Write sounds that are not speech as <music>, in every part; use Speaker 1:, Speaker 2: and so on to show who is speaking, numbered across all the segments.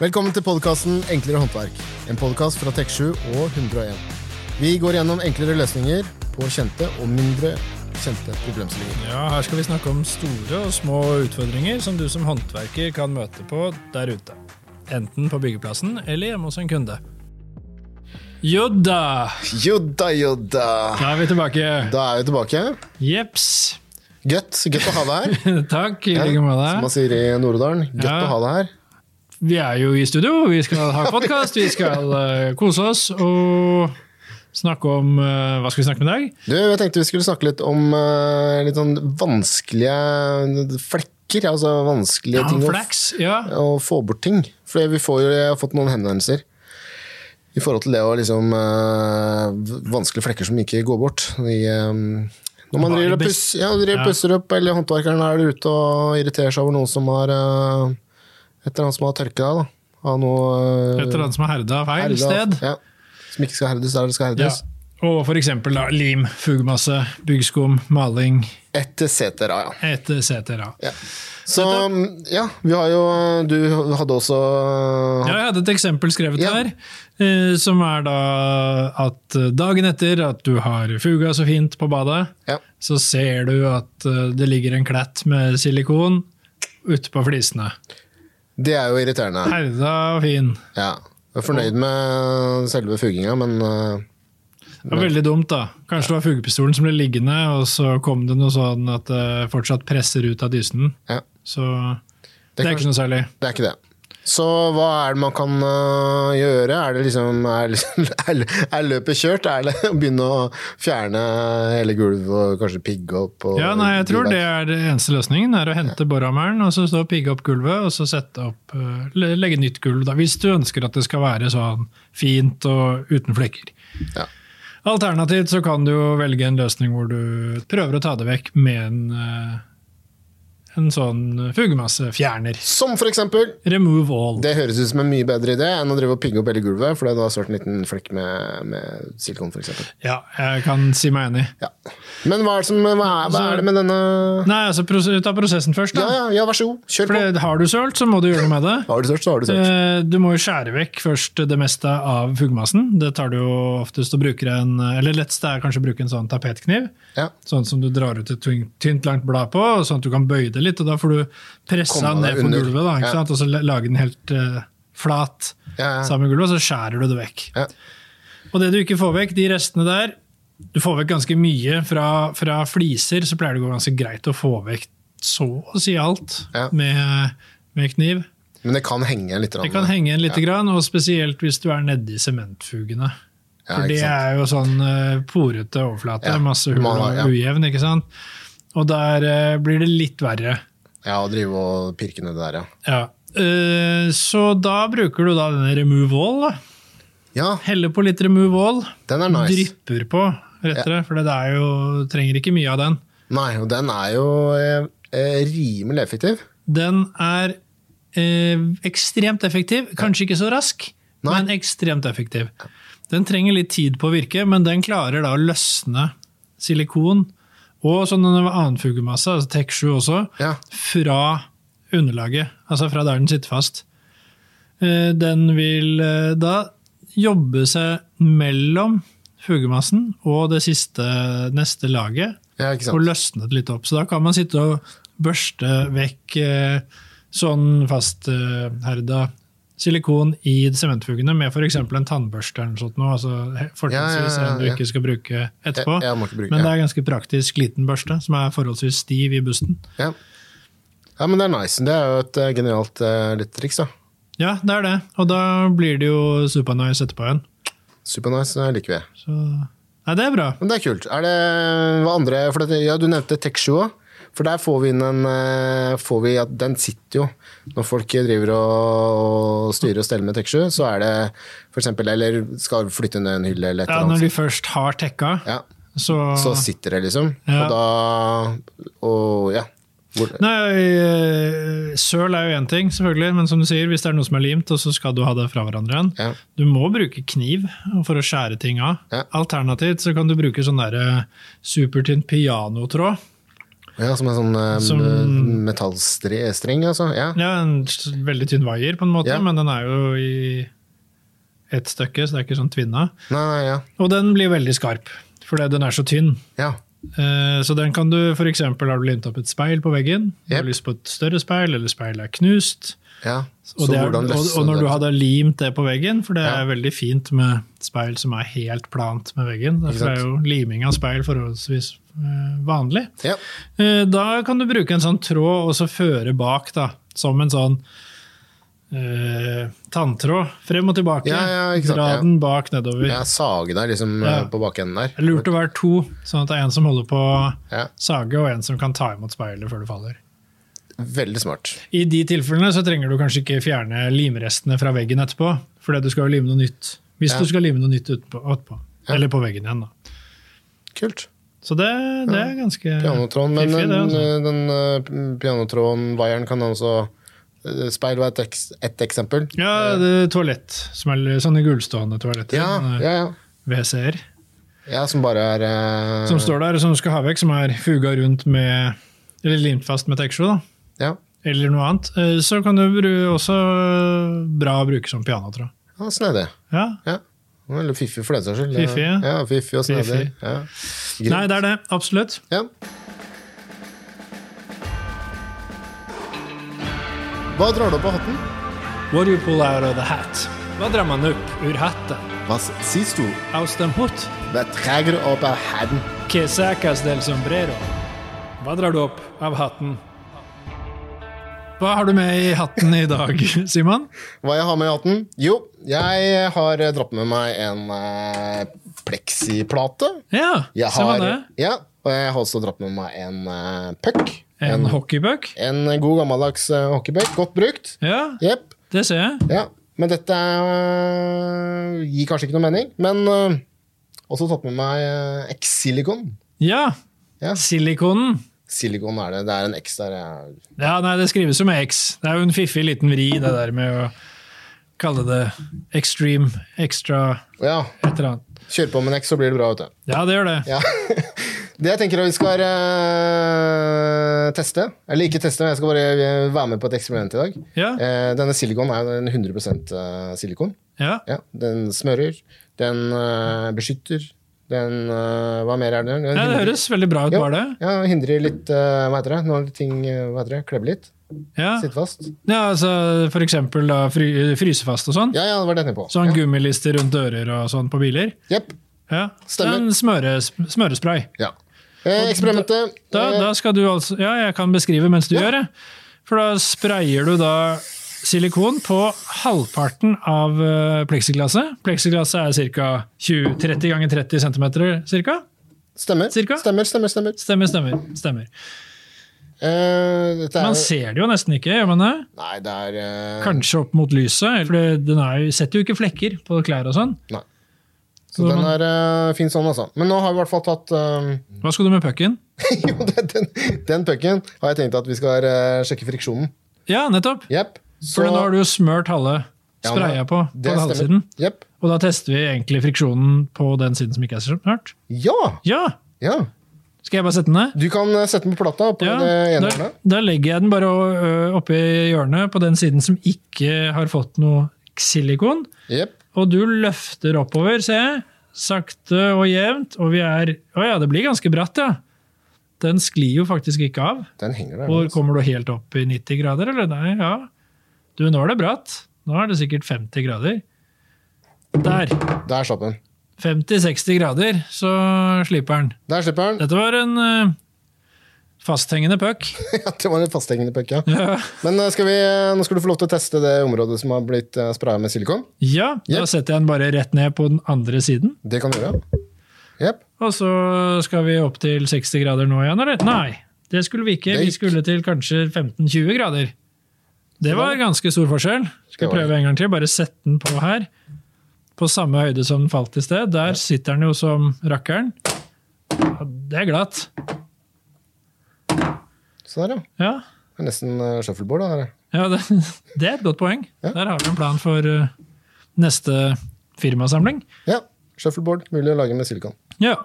Speaker 1: Velkommen til podkasten Enklere håndverk. En podkast fra Tek7 og 101. Vi går gjennom enklere løsninger på kjente og mindre kjente problemstillinger.
Speaker 2: Ja, Her skal vi snakke om store og små utfordringer som du som håndverker kan møte på der ute. Enten på byggeplassen eller hjemme hos en kunde. Jo da,
Speaker 1: Jodda, jodda!
Speaker 2: da er vi tilbake.
Speaker 1: Da er vi tilbake.
Speaker 2: Jeps. <laughs>
Speaker 1: Gøtt gøtt å ha deg her.
Speaker 2: Takk, i <laughs> like
Speaker 1: Som
Speaker 2: måte.
Speaker 1: man sier i Nord-Odalen. Gøtt
Speaker 2: Ja.
Speaker 1: å ha deg her.
Speaker 2: Vi er jo i studio, vi skal ha podkast, vi skal eh, kose oss og snakke om eh, Hva skal vi snakke om i dag?
Speaker 1: Du, jeg tenkte vi skulle snakke litt om eh, litt sånn vanskelige flekker. Altså vanskelige ting å-
Speaker 2: Flax. Ja.
Speaker 1: å få bort ting. For vi får jo, jeg har fått noen henvendelser i forhold til det å liksom øh, Vanskelige flekker som ikke går bort. I, øh, når man
Speaker 2: Bare
Speaker 1: driver og
Speaker 2: bes-
Speaker 1: puss, ja, driver og
Speaker 2: Ja.
Speaker 1: pusser opp, eller håndverkeren er ute og irriterer seg over noen som har øh, Et eller annet som har tørka deg, da. Av noe øh,
Speaker 2: Et eller annet som er herda feil
Speaker 1: herda-
Speaker 2: sted.
Speaker 1: Ja, som ikke skal herdes der det skal
Speaker 2: Ja.
Speaker 1: herdes.
Speaker 2: Og for eksempel da, lim, fugemasse, byggskum, maling
Speaker 1: Etc. Ja.
Speaker 2: etc.
Speaker 1: ja. Så mm, ja, vi har jo eh, Du hadde også
Speaker 2: Ja, jeg hadde et eksempel skrevet
Speaker 1: Ja.
Speaker 2: her, eh, som er da at eh, dagen etter at du har fuga så fint på badet,
Speaker 1: Ja.
Speaker 2: så ser du at eh, det ligger en klett med silikon ute på flisene.
Speaker 1: Det er jo irriterende.
Speaker 2: Herda og fin.
Speaker 1: Ja. Jeg er fornøyd med selve fuginga, men øh,
Speaker 2: Det var veldig dumt, da. Kanskje det var fugepistolen som ble liggende, og så kom det noe sånn at det fortsatt presser ut av dysen.
Speaker 1: ja,
Speaker 2: Så
Speaker 1: Det
Speaker 2: det
Speaker 1: kan-
Speaker 2: er ikke noe særlig.
Speaker 1: det er ikke det. Så hva er det man kan øh, gjøre? Er det liksom <laughs> Er, er, er løpet kjørt? Er det å begynne å fjerne hele gulvet og kanskje pigge opp? Og,
Speaker 2: Ja, nei, jeg tror det er det eneste løsningen. er å Hente borehammeren og så stå og pigge opp gulvet og så sette opp, eh, le- legge nytt gulv. Da, hvis du ønsker at det skal være sånn fint og uten flekker.
Speaker 1: Ja.
Speaker 2: Alternativt så kan du jo velge en løsning hvor du prøver å ta det vekk med en, eh, en sånn fugemassefjerner.
Speaker 1: Som for eksempel!
Speaker 2: Remove all.
Speaker 1: Det høres ut som en mye bedre idé enn å drive og pigge opp hele gulvet, for det hadde vært en liten flekk med, med silikon, for eksempel.
Speaker 2: Ja, jeg kan si meg enig.
Speaker 1: Ja. Men hva er, det som, hva, er, hva er det med denne
Speaker 2: Nei, altså pros- ta prosessen først,
Speaker 1: Ja,
Speaker 2: da.
Speaker 1: ja, ja vær så god. Kjør
Speaker 2: For
Speaker 1: på.
Speaker 2: det- har du sølt, så må du gjøre noe med det.
Speaker 1: Har du sørt, så har du sørt.
Speaker 2: Eh, Du må jo skjære vekk først det meste av fugemassen. Det tar du jo oftest å bruke en, eller lettest er kanskje å bruke en sånn tapetkniv.
Speaker 1: Ja.
Speaker 2: Sånn som du drar ut et tynt, tynt langt blad på, sånn at du kan bøye det litt. og Da får du pressa
Speaker 1: Komme deg
Speaker 2: ned på
Speaker 1: under.
Speaker 2: gulvet
Speaker 1: Ja.
Speaker 2: da, ikke sant? og så la- lage den helt eh, flat
Speaker 1: Ja, ja.
Speaker 2: sammen med gulvet, og så skjærer du det vekk.
Speaker 1: Ja.
Speaker 2: Og det du ikke får vekk, de restene der Du får vekk ganske mye fra, fra fliser, så pleier det å gå ganske greit å få vekk så å si alt
Speaker 1: Ja.
Speaker 2: med, med kniv.
Speaker 1: Men det kan henge litt.
Speaker 2: Det kan henge igjen litt, grann, og spesielt hvis du er nedi sementfugene.
Speaker 1: Ja,
Speaker 2: For
Speaker 1: ikke
Speaker 2: det
Speaker 1: sant?
Speaker 2: er jo sånn eh, porete overflate,
Speaker 1: Ja,
Speaker 2: masse hull
Speaker 1: man
Speaker 2: og
Speaker 1: har- ja.
Speaker 2: ujevn, ikke sant? Og der eh, blir det litt verre.
Speaker 1: Ja, å drive og pirke nedi der, ja.
Speaker 2: Ja. Eh, så da bruker du da denne remove all. da.
Speaker 1: Ja,
Speaker 2: Heller på litt remove all.
Speaker 1: den er nice.
Speaker 2: Drypper på, rettere, for det er jo, trenger ikke mye av den.
Speaker 1: Nei, og den er jo eh, eh, rimelig effektiv.
Speaker 2: Den er eh, ekstremt effektiv. Kanskje ikke så rask,
Speaker 1: Nei.
Speaker 2: men ekstremt effektiv. Den trenger litt tid på å virke, men den klarer da å løsne silikon og sånn en annen fugemasse, altså TEK7 også,
Speaker 1: Ja.
Speaker 2: fra underlaget. Altså fra der den sitter fast. Eh, Den vil eh, da jobbe seg mellom fugemassen og det siste, neste laget
Speaker 1: Ja, ikke
Speaker 2: og
Speaker 1: sant?
Speaker 2: løsnet litt opp. Så da kan man sitte og børste vekk eh, sånn fastherda silikon i sementfugene med f.eks. en tannbørste eller noe sånt, nå, altså he- fortrinnsvis
Speaker 1: Ja, ja, ja,
Speaker 2: en du
Speaker 1: ja.
Speaker 2: ikke skal bruke etterpå.
Speaker 1: Jeg- jeg må ikke bruke-
Speaker 2: Men det
Speaker 1: ja.
Speaker 2: er ganske praktisk liten børste, som er forholdsvis stiv i busten.
Speaker 1: Ja. ja, men det er nice. Det er jo et eh, genialt eh, litt triks, da.
Speaker 2: Ja, det er det. Og da blir det jo supernice etterpå igjen.
Speaker 1: Supernice, det eh, liker vi.
Speaker 2: Så Nei, det er bra.
Speaker 1: Men det er kult. Er det hva andre for dette, Ja, du nevnte Tech7 òg. For der får vi inn en eh, får vi, at Den sitter jo. Når folk driver og, og styrer og steller med Tech7, så er det f.eks. Eller skal flytte ned en hylle eller et
Speaker 2: Ja,
Speaker 1: eller
Speaker 2: når
Speaker 1: annet.
Speaker 2: de først har tekka,
Speaker 1: Ja,
Speaker 2: så,
Speaker 1: så sitter det, liksom.
Speaker 2: Ah. Ja.
Speaker 1: Og da Og ja. Hvor,
Speaker 2: Nei, eh, Søl er jo én ting, selvfølgelig, men som du sier, hvis det er noe som er limt, og så skal du ha det fra hverandre igjen.
Speaker 1: Ja.
Speaker 2: Du må bruke kniv for å skjære ting av.
Speaker 1: Ja.
Speaker 2: Alternativt så kan du bruke sånn der eh, supertynt pianotråd.
Speaker 1: Ja, som en sånn eh,
Speaker 2: Som-
Speaker 1: metallstreng, altså. Ja.
Speaker 2: Ja, en s- veldig tynn vaier, på en måte,
Speaker 1: Ja.
Speaker 2: men den er jo i ett stykke, så det er ikke sånn tvinna.
Speaker 1: Nei, nei, ja.
Speaker 2: Og den blir veldig skarp, fordi den er så tynn.
Speaker 1: ja.
Speaker 2: Eh, Så den kan du f.eks. har du limt opp et speil på veggen. Du
Speaker 1: Jep.
Speaker 2: har lyst på et større speil, eller speilet er knust.
Speaker 1: ja.
Speaker 2: Og, det er, og,
Speaker 1: løser
Speaker 2: og når du
Speaker 1: det?
Speaker 2: hadde limt det på veggen, for det
Speaker 1: Ja.
Speaker 2: er veldig fint med speil som er helt plant med veggen, derfor
Speaker 1: sant?
Speaker 2: er jo liming av speil forholdsvis eh, vanlig,
Speaker 1: Ja.
Speaker 2: Eh, da kan du bruke en sånn tråd og så føre bak, da, som en sånn eh, tanntråd. Frem og tilbake.
Speaker 1: Ja, ja, ikke sant,
Speaker 2: Dra
Speaker 1: ja.
Speaker 2: den bak nedover.
Speaker 1: Jeg sager deg liksom eh,
Speaker 2: Ja.
Speaker 1: på bakenden der.
Speaker 2: Det er lurt å være to, sånn at det er en som holder på å
Speaker 1: Ja.
Speaker 2: sage, og en som kan ta imot speilet før det faller.
Speaker 1: Veldig smart.
Speaker 2: I de tilfellene så trenger du kanskje ikke fjerne limrestene fra veggen etterpå, fordi du skal jo lime noe nytt. Hvis
Speaker 1: Ja.
Speaker 2: du skal lime noe nytt utpå, utpå.
Speaker 1: Ja.
Speaker 2: Eller på veggen igjen, da.
Speaker 1: Kult.
Speaker 2: Så det, det er ganske
Speaker 1: Pianotråden, men den,
Speaker 2: fiffig, det, altså.
Speaker 1: eh, den eh, pianotråden, vaieren, kan også eh, Speil var et, eks, et eksempel.
Speaker 2: Ja, det er toalett. Som er litt sånne gullstående toaletter.
Speaker 1: Ja,
Speaker 2: sånne
Speaker 1: ja, ja.
Speaker 2: WC-er.
Speaker 1: ja, som bare er eh,
Speaker 2: Som står der, som du skal ha vekk, som er fuga rundt med Eller limt fast med Texo, da.
Speaker 1: Ja,
Speaker 2: Eller noe annet. Eh, Så kan du bru- også eh, bra bruke som pianotråd.
Speaker 1: ja snedig.
Speaker 2: Ja.
Speaker 1: Ja. Veldig fiffig for den saks skyld.
Speaker 2: Fiffig,
Speaker 1: ja.
Speaker 2: ja.
Speaker 1: ja. Fiffig og snedig.
Speaker 2: Fiffig.
Speaker 1: Ja. Greit.
Speaker 2: Nei, det er det. Absolutt.
Speaker 1: Ja. Hva drar du opp av hatten?
Speaker 2: What do you pull out of the hat? Hva drar man opp ur hatten?
Speaker 1: Hva sier du?
Speaker 2: Aus dem hut?
Speaker 1: Hva drar du opp av hatten?
Speaker 2: Que sacas del sombrero? Hva drar du opp av hatten? Hva har du med i hatten i dag, <laughs> Simon?
Speaker 1: Hva jeg har med i hatten? Jo, jeg har eh, dratt med meg en eh, pleksiplate.
Speaker 2: Ja,
Speaker 1: Jeg
Speaker 2: se hva
Speaker 1: har,
Speaker 2: det er.
Speaker 1: ja, og jeg har også dratt med meg en eh, puck.
Speaker 2: En hockeypuck?
Speaker 1: En god gammeldags eh, hockeypuck. Godt brukt.
Speaker 2: Ja,
Speaker 1: Jepp.
Speaker 2: det ser jeg.
Speaker 1: Ja. Men dette eh, gir kanskje ikke noe mening. Men eh, også tatt med meg eh, X-silikon.
Speaker 2: Ja,
Speaker 1: Ja.
Speaker 2: silikonen.
Speaker 1: Silikon er det. Det er en X der. eh,
Speaker 2: Ja, nei, det skrives jo med X. Det er jo en fiffig liten vri, det der med å kalle det extreme, extra,
Speaker 1: Ja,
Speaker 2: et eller annet.
Speaker 1: kjør på med en X, så blir det bra, vet du.
Speaker 2: Ja, det gjør det.
Speaker 1: Ja. <laughs> Det jeg tenker at vi skal eh, teste, eller ikke teste, men jeg skal bare eh, være med på et eksperiment i dag.
Speaker 2: Ja,
Speaker 1: Eh, denne silikon er jo en 100 eh, silikon.
Speaker 2: ja.
Speaker 1: Ja, den smører, den eh, beskytter, den eh, Hva mer er det? Den
Speaker 2: ja det
Speaker 1: hindrer-
Speaker 2: høres veldig bra ut,
Speaker 1: Jo.
Speaker 2: var det?
Speaker 1: Ja, den hindrer litt eh, Hva heter det? Når ting eh, hva heter det, klebber litt.
Speaker 2: Ja,
Speaker 1: Sitter fast.
Speaker 2: ja altså for eksempel da fry, frysefast og sånn.
Speaker 1: Ja, ja, det var det jeg tenkte på.
Speaker 2: Sånn
Speaker 1: ja.
Speaker 2: gummilister rundt dører og sånn på biler.
Speaker 1: Jepp.
Speaker 2: Ja.
Speaker 1: Stemmer.
Speaker 2: En smøre, smørespray.
Speaker 1: Ja. Eh, eksperimentet.
Speaker 2: Da,
Speaker 1: eh,
Speaker 2: da skal du altså Ja, jeg kan beskrive mens du
Speaker 1: Ja.
Speaker 2: gjør det. For da sprayer du da silikon på halvparten av eh, pleksiglasset. Pleksiglasset er ca. 30 ganger 30 cm. Cirka.
Speaker 1: Stemmer.
Speaker 2: cirka?
Speaker 1: Stemmer, stemmer, stemmer.
Speaker 2: Stemmer, stemmer. stemmer.
Speaker 1: Eh, dette er
Speaker 2: Man ser det jo nesten ikke, gjør man det?
Speaker 1: Nei, det er eh,
Speaker 2: Kanskje opp mot lyset, for det- den er jo, setter jo ikke flekker på klær og sånn.
Speaker 1: Nei. Så
Speaker 2: Så
Speaker 1: den
Speaker 2: man,
Speaker 1: er eh, fin sånn, altså. Men nå har vi i hvert fall tatt eh, <laughs>
Speaker 2: hva skal du med pucken?
Speaker 1: Jo, den, den, den pucken har jeg tenkt at vi skal eh, sjekke friksjonen.
Speaker 2: Ja, nettopp!
Speaker 1: Jepp.
Speaker 2: For nå har du jo smørt halve
Speaker 1: Ja, men
Speaker 2: spraya på, på
Speaker 1: Det stemmer.
Speaker 2: halvsiden.
Speaker 1: Jepp.
Speaker 2: Og da tester vi egentlig friksjonen på den siden som ikke er så smørt.
Speaker 1: Ja!
Speaker 2: Ja!
Speaker 1: ja!
Speaker 2: Skal jeg bare sette den ned?
Speaker 1: Du kan eh, sette den på plata. På
Speaker 2: Ja,
Speaker 1: det ene
Speaker 2: da,
Speaker 1: hjørnet.
Speaker 2: da legger jeg den bare ø, oppi hjørnet på den siden som ikke har fått noe silikon.
Speaker 1: Jepp.
Speaker 2: Og du løfter oppover, ser jeg. Sakte og jevnt. Og vi er Å ja, det blir ganske bratt, ja. Den sklir jo faktisk ikke av.
Speaker 1: Den henger der.
Speaker 2: Og
Speaker 1: altså.
Speaker 2: kommer du helt opp i 90 grader, eller? Nei, ja. Du, nå er det bratt. Nå er det sikkert 50 grader. Der.
Speaker 1: Der slapp den.
Speaker 2: 50-60 grader, så slipper den.
Speaker 1: Der slipper den.
Speaker 2: Dette var en ø, fasthengende puck. <laughs>
Speaker 1: <laughs> Ja, det var en fasthengende puck, ja.
Speaker 2: Ja.
Speaker 1: Men eh, skal vi, eh, nå skal du få lov til å teste det området som har blitt eh, spraya med silikon.
Speaker 2: Ja, da
Speaker 1: Yep.
Speaker 2: setter jeg den bare rett ned på den andre siden.
Speaker 1: Det kan du gjøre. Jepp.
Speaker 2: Og så skal vi opp til 60 grader nå igjen, eller? Nei, det skulle vi ikke.
Speaker 1: Det
Speaker 2: Vi
Speaker 1: gikk.
Speaker 2: skulle til kanskje 15-20 grader. Det var ganske stor forskjell.
Speaker 1: Det var
Speaker 2: Skal
Speaker 1: det.
Speaker 2: prøve en gang til. Bare sette den på her. På samme høyde som den falt i sted. Der sitter den jo som rakkeren. Ja, Det er glatt.
Speaker 1: Så der, ja.
Speaker 2: Ja,
Speaker 1: Sånn Det er nesten eh, shuffleboard. da, Der.
Speaker 2: ja det, det er et godt poeng.
Speaker 1: Ja.
Speaker 2: Der har vi en plan for eh, neste firmasamling.
Speaker 1: Ja. Shuffleboard. Mulig å lage med silikon.
Speaker 2: Ja.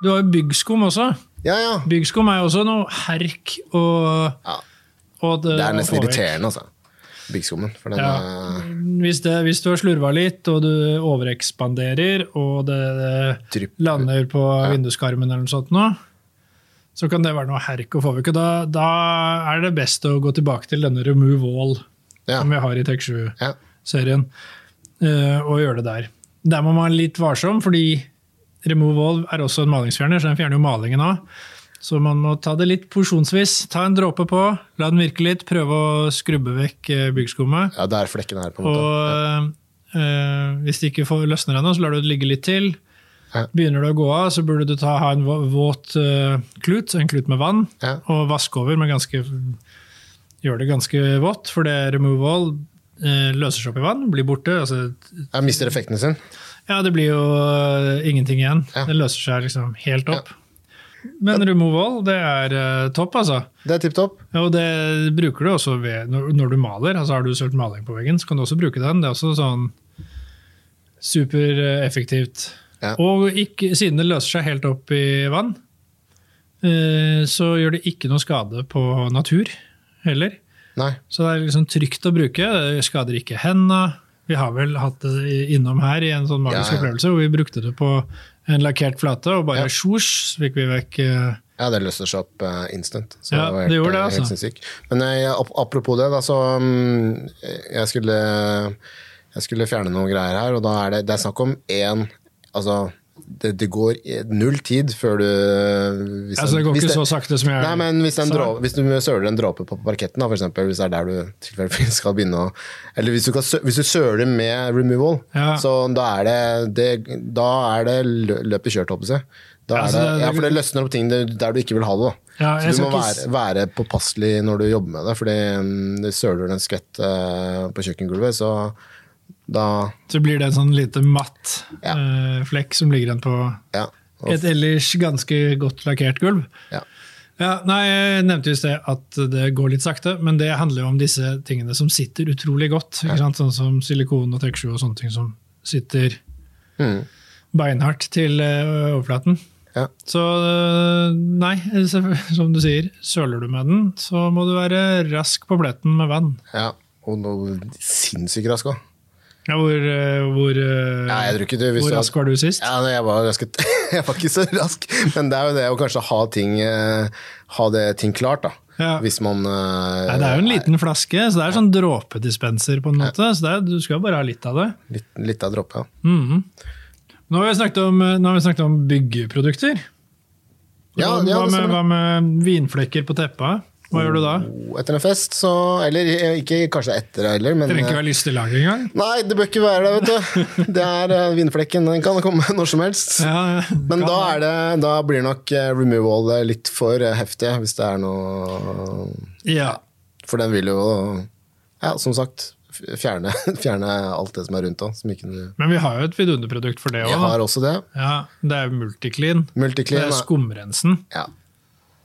Speaker 2: Du har jo byggskum også.
Speaker 1: Ja, ja.
Speaker 2: Byggskum er jo også noe herk og,
Speaker 1: ja.
Speaker 2: og
Speaker 1: Det er nesten
Speaker 2: og hårvekk.
Speaker 1: irriterende, altså. Byggskummen. For den
Speaker 2: Ja.
Speaker 1: eh,
Speaker 2: Hvis, det, hvis du har slurva litt, og du overekspanderer, og det, det
Speaker 1: drypp-
Speaker 2: lander på vinduskarmen eller noe sånt nå, så kan det være noe herk å få vekk. og Da, da er det best å gå tilbake til denne remove all
Speaker 1: Ja.
Speaker 2: som vi har i Tech 7-serien,
Speaker 1: Ja.
Speaker 2: eh, og gjøre det der. Der må man være litt varsom, fordi remove all er også en malingsfjerner, så den fjerner jo malingen av. Så man må ta det litt porsjonsvis. Ta en dråpe på, la den virke litt, prøve å skrubbe vekk eh, byggskummet.
Speaker 1: ja, der er flekken her, på en
Speaker 2: Og
Speaker 1: måte.
Speaker 2: eh, hvis det ikke får løsner ennå, så lar du det ligge litt til.
Speaker 1: Ja.
Speaker 2: Begynner det å gå av, så burde du ta, ha en vå- våt eh, klut, en klut med vann,
Speaker 1: Ja.
Speaker 2: og vaske over med ganske Gjør det ganske vått, for det remove all eh, løser seg opp i vann, blir borte. Altså,
Speaker 1: Jeg mister effekten sin.
Speaker 2: ja, det blir jo eh, ingenting igjen.
Speaker 1: Ja.
Speaker 2: Det løser seg liksom helt opp. Men remove all, det er eh, topp, altså.
Speaker 1: Det er tipp topp.
Speaker 2: Ja, og det bruker du også ved, når, når du maler. altså Har du sølt maling på veggen, så kan du også bruke den. Det er også sånn supereffektivt.
Speaker 1: Ja.
Speaker 2: Og ikke, siden det løser seg helt opp i vann, eh, så gjør det ikke noe skade på natur heller.
Speaker 1: Nei.
Speaker 2: Så det er liksom trygt å bruke. Det skader ikke henda. Vi har vel hatt det i- innom her i en sånn magisk
Speaker 1: Ja, ja.
Speaker 2: opplevelse hvor vi brukte det på en lakkert flate,
Speaker 1: Ja.
Speaker 2: og bare sjosj, så fikk vi vekk eh,
Speaker 1: Ja, det løser seg opp eh, instant. Så
Speaker 2: Ja,
Speaker 1: var
Speaker 2: det gjorde det,
Speaker 1: eh, helt
Speaker 2: altså.
Speaker 1: sinnssykt. Men eh, ap- apropos det, da, så mm, jeg skulle, jeg skulle fjerne noen greier her, og da er det, det er snakk om én Altså, det, det går i- null tid før du hvis
Speaker 2: Altså, det
Speaker 1: den-
Speaker 2: går
Speaker 1: hvis
Speaker 2: ikke så sakte som jeg
Speaker 1: Nei, men hvis, en
Speaker 2: sa.
Speaker 1: dråpe, hvis du søler en dråpe på parketten, da, for eksempel, hvis det er der du tilfeldigvis <laughs> skal begynne å Eller hvis du, kan, sø- hvis du søler med removal,
Speaker 2: Ja.
Speaker 1: så da er det, det, da er det lø- løpet kjørt, håper jeg. Da er
Speaker 2: Altså,
Speaker 1: det,
Speaker 2: det-
Speaker 1: ja, for det løsner opp ting der der du ikke vil ha det. Da.
Speaker 2: Ja,
Speaker 1: så
Speaker 2: jeg
Speaker 1: du
Speaker 2: skal
Speaker 1: må
Speaker 2: ikke s-
Speaker 1: være, være påpasselig når du jobber med det, fordi mm, det søler du en skvett eh, på kjøkkengulvet, så da
Speaker 2: så blir det en sånn lite matt
Speaker 1: Ja.
Speaker 2: eh, flekk som ligger igjen på
Speaker 1: Ja. Og,
Speaker 2: et ellers ganske godt lakkert gulv.
Speaker 1: ja.
Speaker 2: Ja, nei, Jeg nevnte jo i sted at det går litt sakte, men det handler jo om disse tingene som sitter utrolig godt. ikke sant? Sånn som silikon og trekkskjul og sånne ting som sitter
Speaker 1: Mm.
Speaker 2: beinhardt til eh, overflaten.
Speaker 1: Ja.
Speaker 2: Så eh, nei, <laughs> selvfø- som du sier, søler du med den, så må du være rask på bletten med vann.
Speaker 1: ja. Og noe sinnssykt rask òg.
Speaker 2: Ja, hvor eh, hvor, eh,
Speaker 1: Ja, jeg tror ikke du- hvis
Speaker 2: hvor
Speaker 1: du har-
Speaker 2: rask var du sist?
Speaker 1: Ja, nei, jeg, var ganske, <laughs> jeg var ikke så rask, men det er jo det å kanskje ha ting, eh, ha det, ting klart, da.
Speaker 2: Ja.
Speaker 1: Hvis man eh,
Speaker 2: Nei, det er jo en liten flaske, så det er sånn dråpedispenser på en måte. Så det er, du skal jo bare ha litt av det.
Speaker 1: litt, litt av dråpe, ja.
Speaker 2: Mhm. Nå, har vi snakket om, eh, nå har vi snakket om byggeprodukter.
Speaker 1: Ja,
Speaker 2: hva,
Speaker 1: ja,
Speaker 2: hva,
Speaker 1: det
Speaker 2: med,
Speaker 1: stemmer. Mm. Oh,
Speaker 2: hva med vinflekker på teppa? Hva gjør du da?
Speaker 1: Etter en fest, så Eller eh, ikke kanskje etter heller, men
Speaker 2: Trenger ikke
Speaker 1: eh,
Speaker 2: være lystig lager engang.
Speaker 1: Nei, det bør ikke være det,
Speaker 2: <laughs>
Speaker 1: vet du. Det er eh, vindflekken. Den kan komme <laughs> når som helst.
Speaker 2: Ja,
Speaker 1: Men
Speaker 2: <laughs> kan-
Speaker 1: da, er det, da blir nok eh, removal eh, litt for eh, heftig, hvis det er noe
Speaker 2: ja.
Speaker 1: For den vil jo, ja, som sagt, f- fjerne, <laughs> fjerne alt det som er rundt òg.
Speaker 2: Men vi har jo et vidunderprodukt for det
Speaker 1: Jeg
Speaker 2: òg.
Speaker 1: har også det.
Speaker 2: Ja, det er Multiclean. Det
Speaker 1: Multiclean.
Speaker 2: er
Speaker 1: er-
Speaker 2: skumrensen.
Speaker 1: Ja.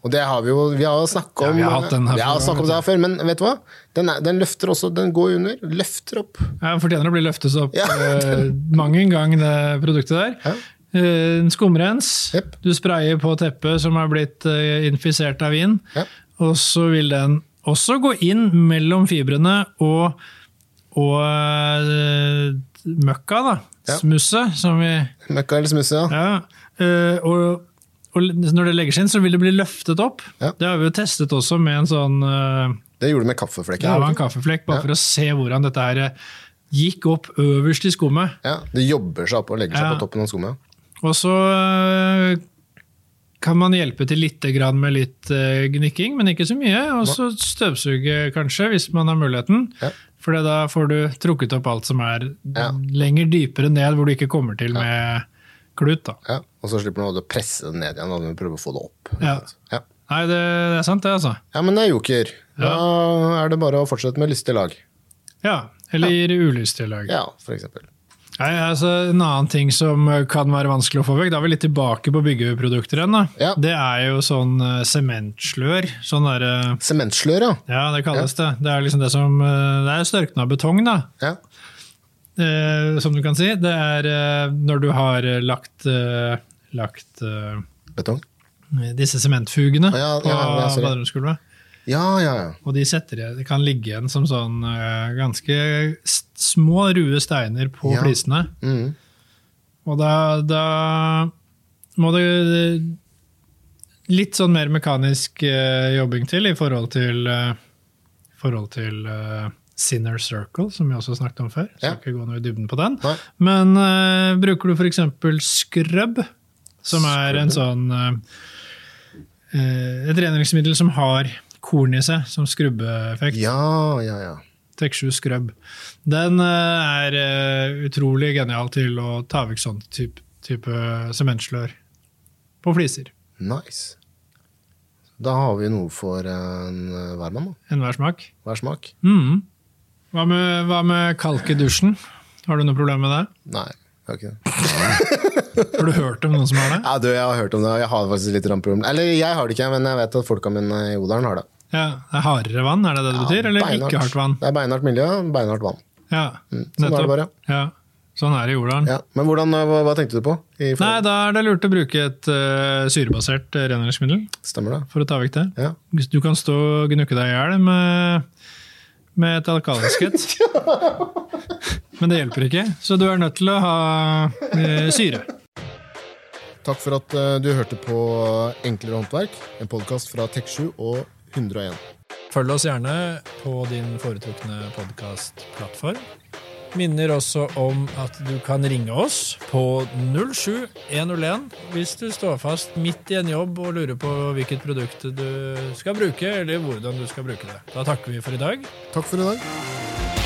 Speaker 1: Og det har vi jo Vi har jo snakket om
Speaker 2: Ja, vi har hatt den her
Speaker 1: Vi har
Speaker 2: før,
Speaker 1: snakket om det her før, men vet du hva? Den, er, den løfter også Den går under. Løfter opp.
Speaker 2: Ja, den fortjener å bli løftet opp
Speaker 1: Ja.
Speaker 2: eh, mang en gang, det produktet der.
Speaker 1: Ja.
Speaker 2: Eh, en skumrens.
Speaker 1: Jepp.
Speaker 2: Du sprayer på teppet som er blitt eh, infisert av vin.
Speaker 1: Ja.
Speaker 2: Og så vil den også gå inn mellom fibrene og, og eh, møkka, da.
Speaker 1: Ja.
Speaker 2: Smusset, som vi
Speaker 1: Møkka eller smusse, ja.
Speaker 2: Ja. eh, og, og når det legger seg inn, så vil det bli løftet opp.
Speaker 1: Ja.
Speaker 2: Det har vi jo testet også med en sånn eh,
Speaker 1: Det gjorde du med
Speaker 2: Det
Speaker 1: kaffeflekken.
Speaker 2: var
Speaker 1: gjorde du
Speaker 2: en
Speaker 1: ikke?
Speaker 2: kaffeflekk, bare
Speaker 1: Ja.
Speaker 2: for å se hvordan dette her eh, gikk opp øverst i skummet.
Speaker 1: Ja, det jobber seg opp og legger seg
Speaker 2: Ja.
Speaker 1: på toppen av skummet.
Speaker 2: Og så øh, kan man hjelpe til litt grann med litt øh, gnikking, men ikke så mye. Og så støvsuge, kanskje, hvis man har muligheten.
Speaker 1: Ja.
Speaker 2: For da får du trukket opp alt som er
Speaker 1: Ja.
Speaker 2: lenger dypere ned, hvor du ikke kommer til med klut. da.
Speaker 1: Ja. Og så slipper man å presse den ned igjen og prøve å få det opp.
Speaker 2: Ja.
Speaker 1: Ja.
Speaker 2: Nei, det, det er sant, det, altså.
Speaker 1: ja, men det er joker. Da er det bare å fortsette med lystig lag.
Speaker 2: Ja. Eller ulystig lag.
Speaker 1: Ja, for eksempel.
Speaker 2: Nei, altså, en annen ting som øh, kan være vanskelig å få vekk, da er vi litt tilbake på byggeprodukter igjen. da.
Speaker 1: Ja.
Speaker 2: Det er jo sånn øh, sementslør. Sånn derre
Speaker 1: Sementslør, ja.
Speaker 2: Ja, det kalles det. Det er liksom det som eh, Det er størkna betong, da.
Speaker 1: ja.
Speaker 2: Eh, som du kan si. Det er eh, når du har eh, lagt eh, Lagt eh,
Speaker 1: betong?
Speaker 2: Disse sementfugene
Speaker 1: Ja, ja,
Speaker 2: på
Speaker 1: ja, sorry.
Speaker 2: baderomsgulvet.
Speaker 1: Ja, ja, ja.
Speaker 2: Og de setter, igjen- det kan ligge igjen som sånn eh, ganske s- små, rue steiner på
Speaker 1: Ja.
Speaker 2: flisene.
Speaker 1: Mm.
Speaker 2: Og da, da må det litt sånn mer mekanisk eh, jobbing til i forhold til, eh, forhold til eh, Sinner Circle, som vi også snakket om før. Skal
Speaker 1: Ja.
Speaker 2: ikke gå noe i dybden på den.
Speaker 1: Nei.
Speaker 2: Men eh, bruker du f.eks. scrub, som er en sånn eh, eh, Et rengjøringsmiddel som har korn i seg, som skrubbeeffekt.
Speaker 1: Ja, ja, ja.
Speaker 2: Tek7 Scrub. Den eh, er eh, utrolig genial til å ta vekk sånn type, type eh, sementslør på fliser.
Speaker 1: Nice. Da har vi noe for en eh, hver mann, da.
Speaker 2: Enhver smak.
Speaker 1: Hver smak.
Speaker 2: Mm. Hva, med, hva med kalk i dusjen? Har du noe problem med det?
Speaker 1: Nei, jeg har ikke det.
Speaker 2: Har du hørt om noen som har det?
Speaker 1: Ja, du, jeg har hørt om det, og jeg har faktisk litt grann problem. Eller jeg har det ikke, men jeg vet at folka mine i Odalen har det.
Speaker 2: Ja, det er Hardere vann, er det det det betyr? Eller
Speaker 1: Beinhardt.
Speaker 2: ikke hardt vann?
Speaker 1: Det er beinhardt miljø, beinhardt vann.
Speaker 2: Ja,
Speaker 1: Sånn er det
Speaker 2: nettopp.
Speaker 1: bare.
Speaker 2: Ja. Sånn er det i Jordalen.
Speaker 1: Ja. Men hvordan, eh, hva, hva tenkte du på? I
Speaker 2: Nei,
Speaker 1: forhold-
Speaker 2: da er det lurt å bruke et eh, syrebasert eh, rengjøringsmiddel
Speaker 1: Stemmer det?
Speaker 2: for å ta vekk det.
Speaker 1: Ja.
Speaker 2: Hvis Du kan stå og gnukke deg i hjel med, med et alkaliskhet. Men det hjelper ikke, så du er nødt til å ha eh, syre.
Speaker 1: Takk for at eh, du hørte på Enklere håndverk, en podkast fra Tek7 og 101.
Speaker 2: Følg oss gjerne på din foretrukne podkastplattform. Minner også om at du kan ringe oss på 07101 hvis du står fast midt i en jobb og lurer på hvilket produkt du skal bruke, eller hvordan du skal bruke det. Da takker vi for i dag.
Speaker 1: Takk for i dag.